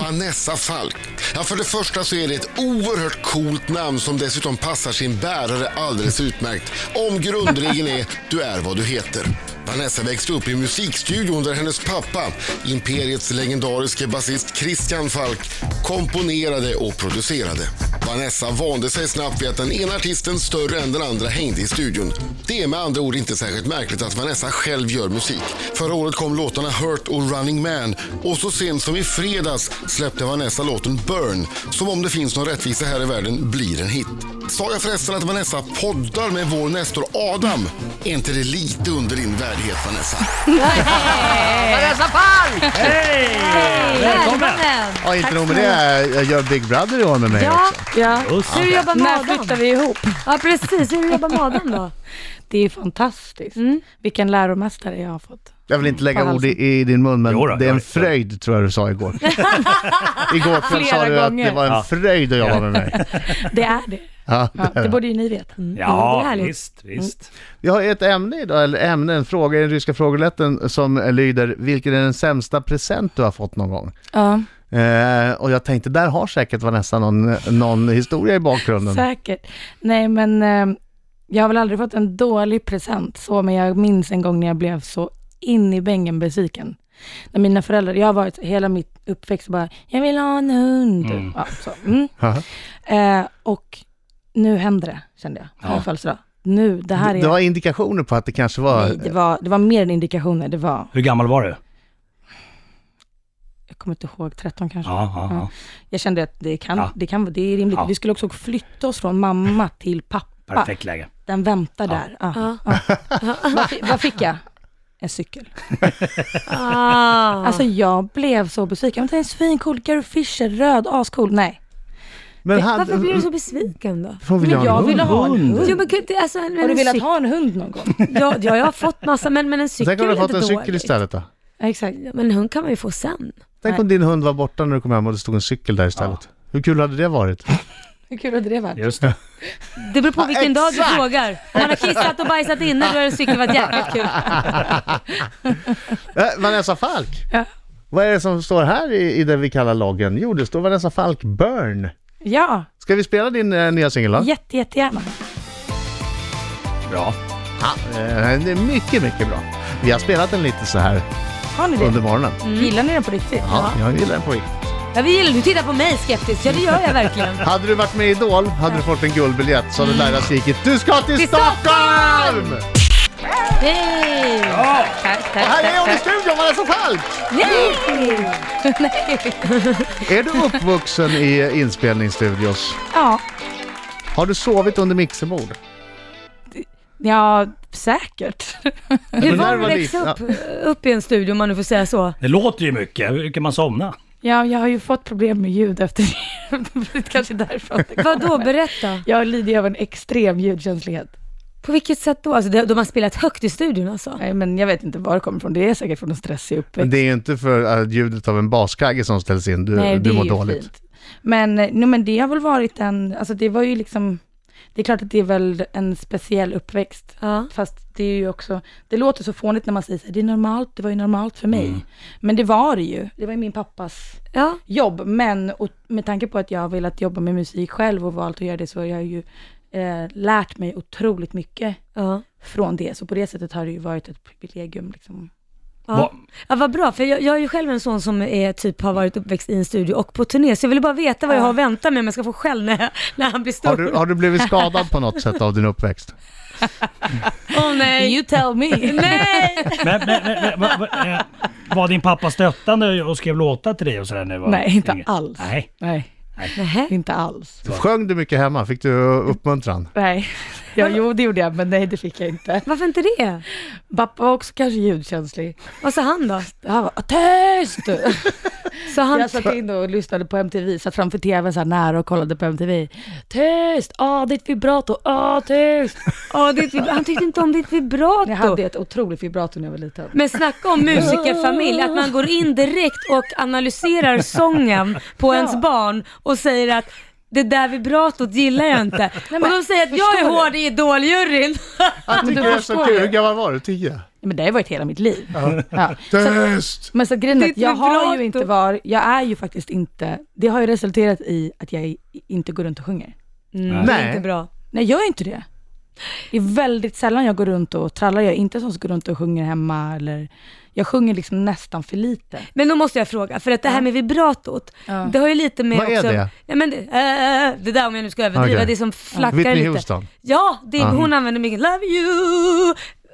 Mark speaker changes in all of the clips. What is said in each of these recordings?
Speaker 1: Vanessa Falk. Ja, för det första så är det ett oerhört coolt namn som dessutom passar sin bärare alldeles utmärkt. Om grundregeln är du är vad du heter. Vanessa växte upp i musikstudion där hennes pappa, Imperiets legendariske basist Christian Falk, komponerade och producerade. Vanessa vande sig snabbt vid att den ena artisten större än den andra hängde i studion. Det är med andra ord inte särskilt märkligt att Vanessa själv gör musik. Förra året kom låtarna Hurt och Running Man och så sent som i fredags släppte Vanessa låten Burn som om det finns någon rättvisa här i världen blir en hit. Sa jag förresten att Vanessa poddar med vår nästor Adam? Är inte det lite under din värdighet Vanessa?
Speaker 2: Vanessa Palm!
Speaker 3: Hej!
Speaker 4: Ja, inte nog med det, jag gör Big Brother i år med mig
Speaker 5: Ja,
Speaker 4: också.
Speaker 5: ja.
Speaker 3: Just
Speaker 6: Hur
Speaker 3: det.
Speaker 6: jobbar
Speaker 5: När
Speaker 6: med
Speaker 5: flyttar
Speaker 6: Adam?
Speaker 5: vi ihop?
Speaker 6: Ja, precis. Hur jobbar med Adam då? Mm.
Speaker 5: Det är fantastiskt. Vilken läromästare jag har fått.
Speaker 4: Jag vill inte lägga
Speaker 5: Vad
Speaker 4: ord i, i din mun, men
Speaker 3: Jo då,
Speaker 4: det är
Speaker 3: jag
Speaker 4: en
Speaker 3: vet.
Speaker 4: fröjd tror jag du sa igår. igår kväll sa
Speaker 5: Flera
Speaker 4: du att
Speaker 5: gånger.
Speaker 4: det var en
Speaker 3: Ja.
Speaker 4: fröjd att jobba med mig.
Speaker 5: Det är det. Mm.
Speaker 4: Ja,
Speaker 5: Ja,
Speaker 4: det
Speaker 5: det
Speaker 4: är
Speaker 5: borde ju ni veta.
Speaker 6: det är
Speaker 3: Ja,
Speaker 6: härligt. Mm.
Speaker 3: visst, visst.
Speaker 4: Vi har ett ämne idag, eller ämne, en fråga i den ryska frågelätten som lyder Vilken är den sämsta present du har fått någon gång?
Speaker 5: Ja,
Speaker 4: Eh, och jag tänkte, där har säkert Vanessa någon, någon historia i bakgrunden.
Speaker 3: Mm.
Speaker 5: säkert. Nej, men eh, jag har väl aldrig fått en dålig present så, men jag minns en gång när jag blev så in i bängen besviken. När mina föräldrar, jag har varit hela mitt uppväxt och bara, jag vill ha en hund. Ja, så. Mm.
Speaker 4: Haha.
Speaker 5: Eh, och nu händer det, kände jag, på
Speaker 3: Ja.
Speaker 5: min födelsedag. Nu, det här är...
Speaker 4: Det var indikationer på att det kanske var...
Speaker 5: Nej, det var, det var mer än indikationer. Det var,
Speaker 3: Hur gammal var du?
Speaker 5: jag kommer inte ihåg, 13 kanske.
Speaker 3: Ja, ja, ja.
Speaker 5: Jag kände att det kan,
Speaker 3: Ja.
Speaker 5: det kan det är rimligt.
Speaker 3: Ja.
Speaker 5: Vi skulle också flytta oss från mamma till pappa.
Speaker 3: Perfekt läge.
Speaker 5: Den väntar där. Ja.
Speaker 6: Ja.
Speaker 5: Vad, fi- vad fick jag? En cykel.
Speaker 6: Ah.
Speaker 5: Alltså jag blev så besviken. Men det är en svincool Gary Fisher, röd, ascool. Nej.
Speaker 4: Men
Speaker 6: Varför blir du så besviken då?
Speaker 4: Hon ville
Speaker 5: Men
Speaker 4: ha
Speaker 5: jag
Speaker 4: en
Speaker 5: ville
Speaker 4: hund.
Speaker 5: ha en hund.
Speaker 6: Jo, men, kan inte- alltså, men
Speaker 5: Mm. Har du
Speaker 6: en
Speaker 5: velat
Speaker 6: cykel-
Speaker 5: ha en hund någon gång?
Speaker 6: Ja, ja, jag har fått massa, men, men en cykel
Speaker 4: Tänk om
Speaker 6: är
Speaker 4: du hade
Speaker 6: inte
Speaker 4: fått en cykel
Speaker 6: dåligt.
Speaker 4: istället då?
Speaker 5: Ja, Exakt.
Speaker 6: Ja, Men en hund kan man ju få sen.
Speaker 4: Tänk om din hund var borta när du kom hem och det stod en cykel där istället. Hur kul hade det varit?
Speaker 5: Hur kul hade det varit?
Speaker 3: Just det.
Speaker 6: Det beror på vilken dag du frågar. Om man har kissat och bajsat inne, då är en cykel varit jäkligt kul.
Speaker 4: Äh, Vanessa Falk!
Speaker 5: Ja.
Speaker 4: Vad är det som står här i, i det vi kallar loggen? Jo, det står Vanessa Falk Burn.
Speaker 5: Ja,
Speaker 4: Ska vi spela din eh, nya singel då?
Speaker 5: jätte, jättegärna.
Speaker 3: Bra.
Speaker 4: Eh, det är mycket, mycket bra. Vi har spelat den lite så här
Speaker 5: Har ni det?
Speaker 4: under morgonen.
Speaker 5: Gillar ni den på riktigt?
Speaker 4: Ja, jag gillar den på riktigt.
Speaker 6: Ja, vi gillar, du tittar på mig skeptiskt. Ja, det gör jag verkligen.
Speaker 4: Hade du varit med i Idol hade du fått en guldbiljett så hade Laila skrikit Du ska till, Stockholm!
Speaker 6: Hej! Tack,
Speaker 4: Och här
Speaker 6: tack,
Speaker 4: är hon i
Speaker 6: tack.
Speaker 4: studion, Vanessa Falk! Är du uppvuxen i inspelningsstudios?
Speaker 5: Ja,
Speaker 4: Har du sovit under mixerbord?
Speaker 5: ja säkert.
Speaker 6: Hur
Speaker 4: Men när
Speaker 6: var det
Speaker 4: var
Speaker 6: att växa upp,
Speaker 4: liten-
Speaker 6: upp i en studio, om man nu får säga så?
Speaker 3: Det låter ju mycket. Hur kan man somna?
Speaker 5: Ja, jag har ju fått problem med ljud efter det. Kanske därför. att det
Speaker 6: Vad då
Speaker 5: kommer.
Speaker 6: berätta.
Speaker 5: Jag lider ju av en extrem ljudkänslighet.
Speaker 6: På vilket sätt då? Alltså, de de har spelat högt i studion alltså?
Speaker 5: Nej, men jag vet inte var det kommer ifrån. Det är säkert från en stressig
Speaker 4: Men
Speaker 5: uppväxt.
Speaker 4: det är ju inte för äh, ljudet av en baskagge som ställs in, du,
Speaker 5: Nej, det
Speaker 4: du mår
Speaker 5: är ju
Speaker 4: dåligt.
Speaker 5: fint. Men, eh, nej, men det har väl varit en, alltså det var ju liksom, det är klart att det är väl en speciell uppväxt.
Speaker 6: Ja.
Speaker 5: Fast det är ju också, det låter så fånigt när man säger så här, det är normalt, det var ju normalt för
Speaker 4: Mm.
Speaker 5: mig. Men det var det ju. Det var ju min pappas
Speaker 6: ja.
Speaker 5: jobb, men och med tanke på att jag har velat jobba med musik själv och valt att göra det så har jag ju eh, lärt mig otroligt mycket
Speaker 6: ja.
Speaker 5: från det. Så på det sättet har det ju varit ett privilegium. Liksom.
Speaker 6: Ja. ja, vad bra, för jag, jag har ju själv en son som är, typ har varit uppväxt i en studio och på turné, så jag ville bara veta vad jag har att vänta mig om jag ska få skäll när, jag- när han blir stor.
Speaker 4: Har du, har du blivit skadad på något sätt av din uppväxt?
Speaker 6: Åh nej!
Speaker 5: You tell me!
Speaker 6: Nej!
Speaker 3: Men, men, men, men vad- vad, eh, var din pappa stöttande och skrev låtar till dig och sådär nu? va?
Speaker 5: Nej, inte
Speaker 3: Inget.
Speaker 5: alls.
Speaker 3: Nej.
Speaker 5: Nej,
Speaker 6: Nähä.
Speaker 5: inte alls.
Speaker 4: Sjöng du mycket hemma? Fick du uppmuntran?
Speaker 5: Nej, ja, jo det gjorde jag, men nej det fick jag inte.
Speaker 6: Varför inte det?
Speaker 5: Pappa var också kanske ljudkänslig.
Speaker 6: Vad sa han då?
Speaker 5: Han var tyst!
Speaker 6: Sa han,
Speaker 5: Jag satt in och lyssnade på MTV, satt framför TVn så här nära och kollade på MTV. Tyst! Ah, ditt vibrato! Ah, tyst!
Speaker 6: Ja, ditt, vib- han tyckte inte om ditt vibrato.
Speaker 5: Jag hade ett otroligt vibrato när jag var liten.
Speaker 6: Men snacka om musikerfamilj, att man går in direkt och analyserar sången på ens barn och säger att det där vibratot gillar jag inte.
Speaker 5: men,
Speaker 6: och de säger att jag är
Speaker 5: förstår du?
Speaker 6: hård i idoljuryn.
Speaker 4: Jag tycker
Speaker 5: du
Speaker 4: det är så
Speaker 5: förstår
Speaker 4: kul.
Speaker 5: ju.
Speaker 4: Hur gammal var du? Tio?
Speaker 5: Ja, men det har ju varit hela mitt liv. Ja. Så att-
Speaker 4: Test!
Speaker 5: men så att grejen är att
Speaker 6: Ditt
Speaker 5: jag har
Speaker 6: vibrato.
Speaker 5: ju inte var, jag är ju faktiskt inte, det har ju resulterat i att jag i- inte går runt och sjunger.
Speaker 6: Mm, det
Speaker 4: Nej.
Speaker 6: är inte bra.
Speaker 5: Nej, jag är inte det. Det är väldigt sällan jag går runt och trallar. Jag är inte sån som går runt och sjunger hemma eller, jag sjunger liksom nästan för lite.
Speaker 6: Men då måste jag fråga, för att det här med vibratot,
Speaker 5: Ja.
Speaker 6: det har ju lite med
Speaker 4: Vad är
Speaker 6: också...
Speaker 4: det?
Speaker 6: Nej, men det, äh, det där om jag nu ska överdriva,
Speaker 4: Okej.
Speaker 6: det som flackar
Speaker 4: Whitney
Speaker 6: lite.
Speaker 4: Houston.
Speaker 6: Ja, det, hon använder mycket “Love you”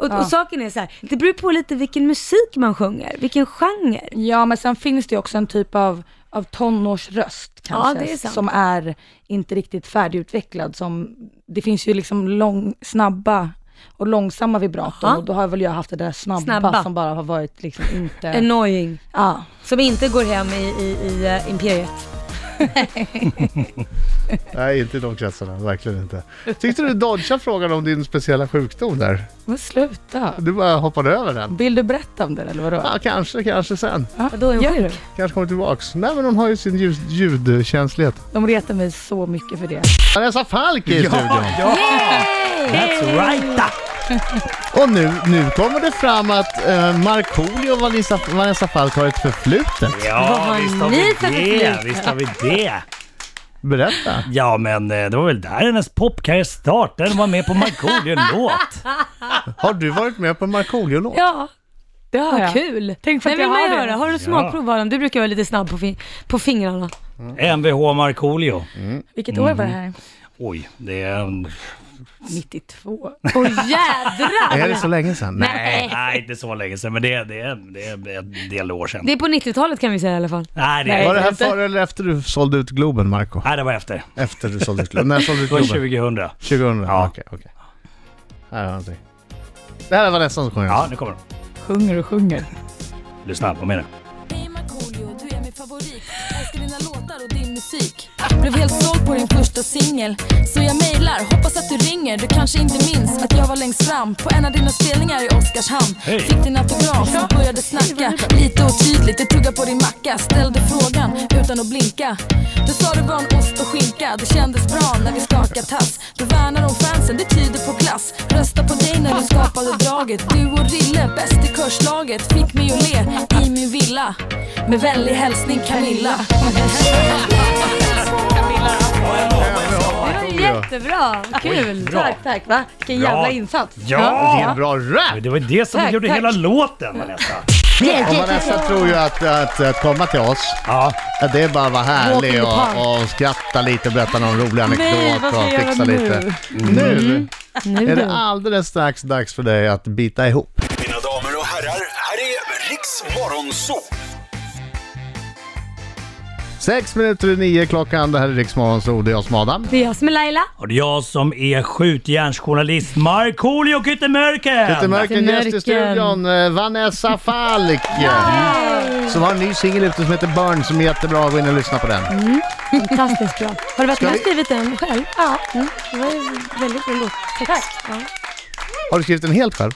Speaker 6: och, och saken är så här, det beror på lite vilken musik man sjunger, vilken genre.
Speaker 5: Ja, men sen finns det ju också en typ av, av tonårsröst kanske,
Speaker 6: det är sant.
Speaker 5: som är inte riktigt färdigutvecklad. Som, det finns ju liksom lång, snabba och långsamma vibraton
Speaker 6: Aha.
Speaker 5: och då har väl jag haft det där snabba,
Speaker 6: Snabba.
Speaker 5: som bara har varit liksom inte...
Speaker 6: Annoying.
Speaker 5: ja.
Speaker 6: Som inte går hem i, i, i eh, Imperiet.
Speaker 4: Nej, inte i de kretsarna. Verkligen inte. Tyckte du dodga frågan om din speciella sjukdom där?
Speaker 5: Men sluta.
Speaker 4: Du bara hoppade över den.
Speaker 5: Vill du berätta om det eller vadå?
Speaker 4: Ja, kanske, kanske sen.
Speaker 5: Ja,
Speaker 6: Vadå, är hon
Speaker 5: gör
Speaker 6: sjuk?
Speaker 5: du?
Speaker 4: Kanske kommer tillbaks. Nej, men hon har ju sin ljus- ljudkänslighet.
Speaker 5: De retar mig så mycket för det.
Speaker 4: Vanessa Falk är i studion.
Speaker 3: Ja, that's right!
Speaker 6: Eh,
Speaker 3: da.
Speaker 4: Och nu, nu kommer det fram att eh, Markoolio och Vanessa, Vanessa Falk har ett förflutet.
Speaker 6: Vad
Speaker 3: Ja,
Speaker 6: har
Speaker 3: visst har
Speaker 6: ni
Speaker 3: vi
Speaker 6: för
Speaker 3: det.
Speaker 6: publik?
Speaker 3: Visst har vi det.
Speaker 4: Berätta.
Speaker 3: Ja, men eh, det var väl där hennes popkarriär startade. Hon var med på Markoolio-låt.
Speaker 4: Har du varit med på en Markoolio-låt?
Speaker 6: Ja,
Speaker 5: Det har
Speaker 6: vad
Speaker 5: jag.
Speaker 6: kul. Tänk
Speaker 5: för att jag har
Speaker 6: har
Speaker 5: det.
Speaker 6: Har du smakprov Adam? Du brukar vara lite snabb på, fin- på fingrarna.
Speaker 3: Mvh Markoolio.
Speaker 5: Vilket år var det här?
Speaker 3: Oj, det är... en-
Speaker 5: 92.
Speaker 6: Åh jädrar!
Speaker 4: Är det så länge sedan?
Speaker 6: Nej.
Speaker 3: Nej, inte så länge sedan, men det, det, det, det är en del år sedan.
Speaker 6: Det är på 90-talet kan vi säga i alla fall.
Speaker 3: Nej, det,
Speaker 4: Var det här
Speaker 5: inte.
Speaker 4: före eller efter du sålde ut Globen, Marco?
Speaker 3: nej, det var efter.
Speaker 4: Efter du sålde ut Globen. När sålde du ut
Speaker 3: Det var
Speaker 4: Globen?
Speaker 3: 2000.
Speaker 4: 2000?
Speaker 3: Ja.
Speaker 4: Ja. Okej, okej. Här har jag någonting. Det här var nästan som sjunger.
Speaker 3: Ja, nu kommer den.
Speaker 5: Sjunger och sjunger.
Speaker 3: Lyssna, vad menar
Speaker 7: Hej Markoolio, du är min favorit. Älskar dina låtar och din musik. Blev helt såld på din första singel. Så jag mejlar, hoppas att du ringer. Du kanske inte minns att jag var längst fram på en av dina spelningar i Oskarshamn.
Speaker 3: Hej.
Speaker 7: Fick din autograf och började snacka. Lite otydligt, du tuggade på din macka. Ställde frågan utan att blinka. Du sa du var en ost och skinka. Det kändes bra när vi skakade tass. Du värnar om fansen, det tyder på klass. Rösta på dig när du skapade draget. Du och Rille, bäst i körslaget. Fick mig att le i min villa. Med vänlig hälsning Camilla.
Speaker 6: Det var ju jättebra. Kul.
Speaker 3: Bra.
Speaker 5: Tack, tack. Va? Vilken
Speaker 3: Bra.
Speaker 5: jävla insats.
Speaker 3: Ja!
Speaker 4: Bra
Speaker 3: Men
Speaker 4: rap!
Speaker 3: Det var ju det som
Speaker 5: Tack,
Speaker 3: gjorde
Speaker 5: tack.
Speaker 3: hela låten, Vanessa.
Speaker 4: Och Vanessa tror ju att, att, att komma till oss,
Speaker 3: Ja,
Speaker 4: att det är bara att vara
Speaker 5: Walk in the
Speaker 4: härlig
Speaker 5: park.
Speaker 4: och, och skratta lite, berätta någon rolig anekdot och fixa lite. Nu
Speaker 6: Nu
Speaker 4: är det
Speaker 6: då.
Speaker 4: alldeles strax dags för dig att bita ihop.
Speaker 8: Mina damer och herrar, här är Riks Morgonzoo!
Speaker 4: Sex minuter i nio klockan, det här är Riksmorgon, så det är jag som är Adam.
Speaker 6: Det är jag som är Laila.
Speaker 3: och det är jag som är skjutjärnsjournalist Markoolio Kyttemörken!
Speaker 4: Peter Mörken,
Speaker 6: Peter
Speaker 4: gäst i
Speaker 6: Mörken.
Speaker 4: studion, eh, Vanessa Falk. Som har en ny singel ute som heter Burn som är jättebra. Gå in och lyssna på den.
Speaker 3: Mm.
Speaker 6: Fantastiskt bra. Har du varit
Speaker 4: Ska
Speaker 6: med
Speaker 4: vi-
Speaker 6: och skrivit den själv? Ja. Mm. Det var ju väldigt bra låttext. Ja.
Speaker 4: Har du skrivit den helt själv?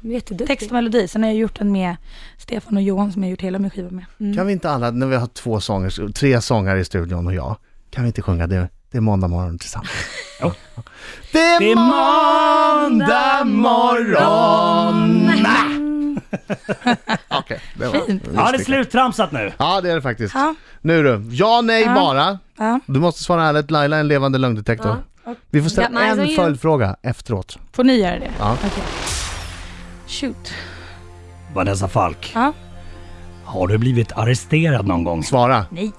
Speaker 6: Jätteduktig.
Speaker 5: Text och melodi. Sen har jag gjort den med Stefan och Johan som jag har gjort hela min skiva med.
Speaker 3: Mm.
Speaker 4: Kan vi inte alla, när vi har två sånger, tre sångare i studion och jag, kan vi inte sjunga det? Det är måndag morgon tillsammans.
Speaker 3: Jo.
Speaker 4: Det är,
Speaker 3: Det är måndag morgon!
Speaker 4: Okej, det var
Speaker 5: Fint.
Speaker 3: Ja, det är sluttramsat nu.
Speaker 4: Ja, det är det faktiskt.
Speaker 5: Ja.
Speaker 4: Nu du, ja, nej,
Speaker 5: Ja.
Speaker 4: bara.
Speaker 5: Ja.
Speaker 4: Du måste svara ärligt, Laila är en levande lögndetektor. Vi får
Speaker 6: Ja,
Speaker 4: ställa
Speaker 6: men
Speaker 4: en
Speaker 6: alltså, ju-
Speaker 4: följdfråga efteråt.
Speaker 5: Får ni göra det?
Speaker 4: Ja.
Speaker 5: Okej. Shoot.
Speaker 3: Vanessa Falk.
Speaker 5: Ja.
Speaker 3: Har du blivit arresterad någon gång?
Speaker 4: Svara.
Speaker 5: Nej.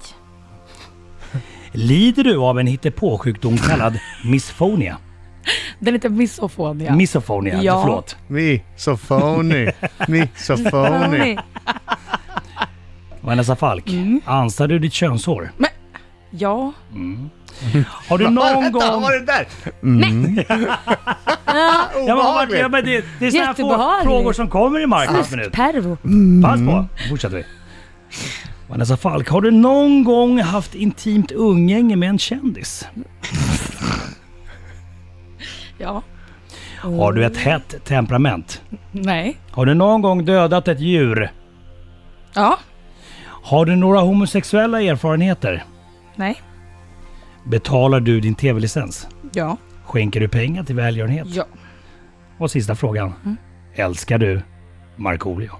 Speaker 3: Lider du av en hittepåsjukdom kallad misfonia?
Speaker 5: Den heter Misofonia.
Speaker 3: Misofonia,
Speaker 5: Ja.
Speaker 3: förlåt.
Speaker 4: Misofoni. Misofoni.
Speaker 6: Tony.
Speaker 3: Vanessa Falk,
Speaker 5: Mm.
Speaker 3: ansar du ditt könshår?
Speaker 5: ja.
Speaker 3: Har du någon gång... Mm.
Speaker 4: var det där?
Speaker 3: Ja, men, har varit-
Speaker 4: Obehagligt.
Speaker 3: ja, men det, det är såna här få-
Speaker 6: Jättebehagligt.
Speaker 3: frågor som kommer i Markens minut.
Speaker 6: Pervo.
Speaker 3: Pass på, nu fortsätter vi. Vanessa Falk, har du någon gång haft intimt umgänge med en kändis?
Speaker 5: Ja.
Speaker 3: Har du ett hett temperament?
Speaker 5: Nej.
Speaker 3: Har du någon gång dödat ett djur?
Speaker 5: Ja.
Speaker 3: Har du några homosexuella erfarenheter?
Speaker 5: Nej.
Speaker 3: Betalar du din tv-licens?
Speaker 5: Ja.
Speaker 3: Skänker du pengar till välgörenhet?
Speaker 5: Ja.
Speaker 3: Och sista frågan. Älskar du Markoolio?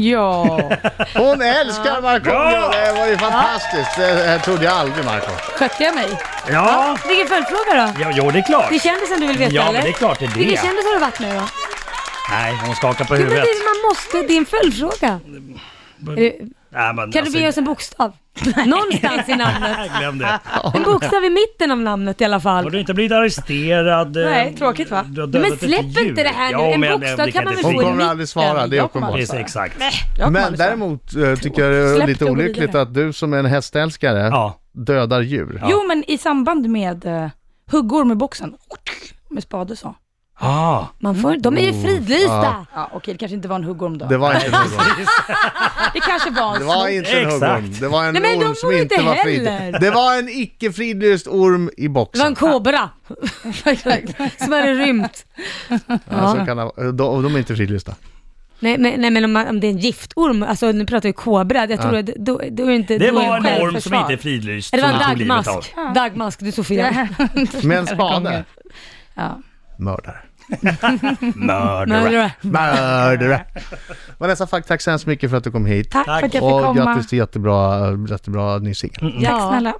Speaker 5: Ja,
Speaker 4: Hon älskar Markoolio!
Speaker 3: Ja.
Speaker 4: Det var ju fantastiskt. Det här trodde jag aldrig Marko.
Speaker 5: skötte jag mig?
Speaker 3: Ja,
Speaker 6: Vilken följdfråga då?
Speaker 3: ja jo, det är klart.
Speaker 6: Det är kändisen du vill veta
Speaker 3: Ja,
Speaker 6: eller?
Speaker 3: men det är klart det är
Speaker 6: Vilken
Speaker 3: det.
Speaker 6: kändis har du varit nu då?
Speaker 3: Nej, hon skakar på
Speaker 6: Jo, men
Speaker 3: huvudet.
Speaker 6: det, man måste, det är en följdfråga. Är det-
Speaker 3: Nej, men
Speaker 6: Kan
Speaker 3: alltså,
Speaker 6: du ge oss en bokstav? Någonstans i namnet.
Speaker 3: Nej, glöm det.
Speaker 6: En bokstav i mitten av namnet i alla
Speaker 3: Har
Speaker 6: fall.
Speaker 3: du inte blivit arresterad? eh,
Speaker 5: Nej, tråkigt, va?
Speaker 3: du har
Speaker 6: Men
Speaker 3: dödat ett
Speaker 6: släpp
Speaker 3: djur.
Speaker 6: inte det här nu.
Speaker 3: Ja,
Speaker 6: En
Speaker 3: men, eh,
Speaker 6: bokstav
Speaker 3: det
Speaker 6: kan man väl
Speaker 3: inte
Speaker 6: få
Speaker 4: Hon
Speaker 6: i
Speaker 3: finnas.
Speaker 4: kommer aldrig svara, det är
Speaker 5: Jag kommer
Speaker 4: uppenbart.
Speaker 5: aldrig
Speaker 3: Precis, exakt.
Speaker 5: Jag kommer
Speaker 4: Men
Speaker 5: aldrig svara.
Speaker 4: däremot eh, tycker jag det är
Speaker 5: Släpp
Speaker 4: lite
Speaker 5: det och gå
Speaker 4: olyckligt
Speaker 5: vidare.
Speaker 4: att du som är en hästälskare
Speaker 3: Ja.
Speaker 4: dödar djur.
Speaker 3: Ja.
Speaker 5: Jo, men i samband med uh, huggor med boxen. Med spade så.
Speaker 3: Ah,
Speaker 6: Man får, de är
Speaker 4: Oh.
Speaker 6: ju fridlysta.
Speaker 5: Ja, okej, det kanske inte var en huggorm då.
Speaker 4: Det
Speaker 5: Det,
Speaker 4: var inte en huggorm.
Speaker 5: kanske var en
Speaker 4: Det var
Speaker 5: snok.
Speaker 4: inte en
Speaker 3: Exakt.
Speaker 4: huggorm. Det var en
Speaker 6: Nej, men de
Speaker 4: orm som
Speaker 6: borde
Speaker 4: inte
Speaker 6: inte
Speaker 4: var fridlyst.
Speaker 6: heller.
Speaker 4: Det var en icke fridlyst orm i
Speaker 6: Det var
Speaker 4: boxen.
Speaker 6: en kobra som hade rymt.
Speaker 4: Ja, så kan det, vara. de, och de är inte fridlysta.
Speaker 6: Nej men, nej, men om, man, om det är en giftorm, alltså nu pratar vi kobra, jag tror att det- då, då är det inte...
Speaker 3: det
Speaker 6: då är
Speaker 3: var en orm
Speaker 6: själv-
Speaker 3: som
Speaker 5: självförsvar.
Speaker 3: inte är fridlyst.
Speaker 6: Det var en
Speaker 3: som tog livet av.
Speaker 6: dagmask. Dagmask, du såg fel.
Speaker 4: Med en spade.
Speaker 5: gånger. Ja.
Speaker 4: Mördare.
Speaker 3: Mördare.
Speaker 4: Mördare. Vanessa Falk, tack så hemskt mycket för att du kom hit.
Speaker 5: Tack, för att jag fick
Speaker 4: Och
Speaker 5: komma.
Speaker 4: grattis till jättebra, jättebra ny singel.
Speaker 5: Tack snälla.